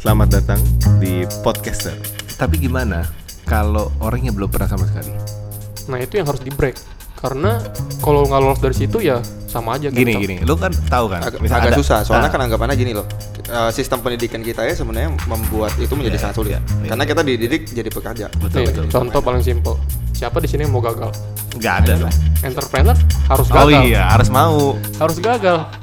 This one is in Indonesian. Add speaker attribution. Speaker 1: Selamat datang di podcaster.
Speaker 2: Tapi gimana kalau orangnya belum pernah sama sekali?
Speaker 3: Nah itu yang harus di break karena kalau nggak lolos dari situ ya sama aja.
Speaker 2: Gini
Speaker 3: kan?
Speaker 2: gini, lu kan tahu kan?
Speaker 4: Agak,
Speaker 2: misal
Speaker 4: agak
Speaker 2: ada-
Speaker 4: susah,
Speaker 2: Ah,
Speaker 4: soalnya kan anggapannya gini loh. eh, sistem pendidikan kita ya sebenarnya membuat itu menjadi
Speaker 2: Iya,
Speaker 4: sangat sulit.
Speaker 2: iya, iya.
Speaker 4: Karena kita dididik jadi pekerja.
Speaker 2: betul
Speaker 3: Nih,
Speaker 2: betul.
Speaker 3: contoh paling simpel. Siapa di sini yang mau gagal?
Speaker 2: Gak ada dong. iya.
Speaker 3: Entrepreneur harus gagal.
Speaker 2: Oh iya, harus mau.
Speaker 3: Harus gagal.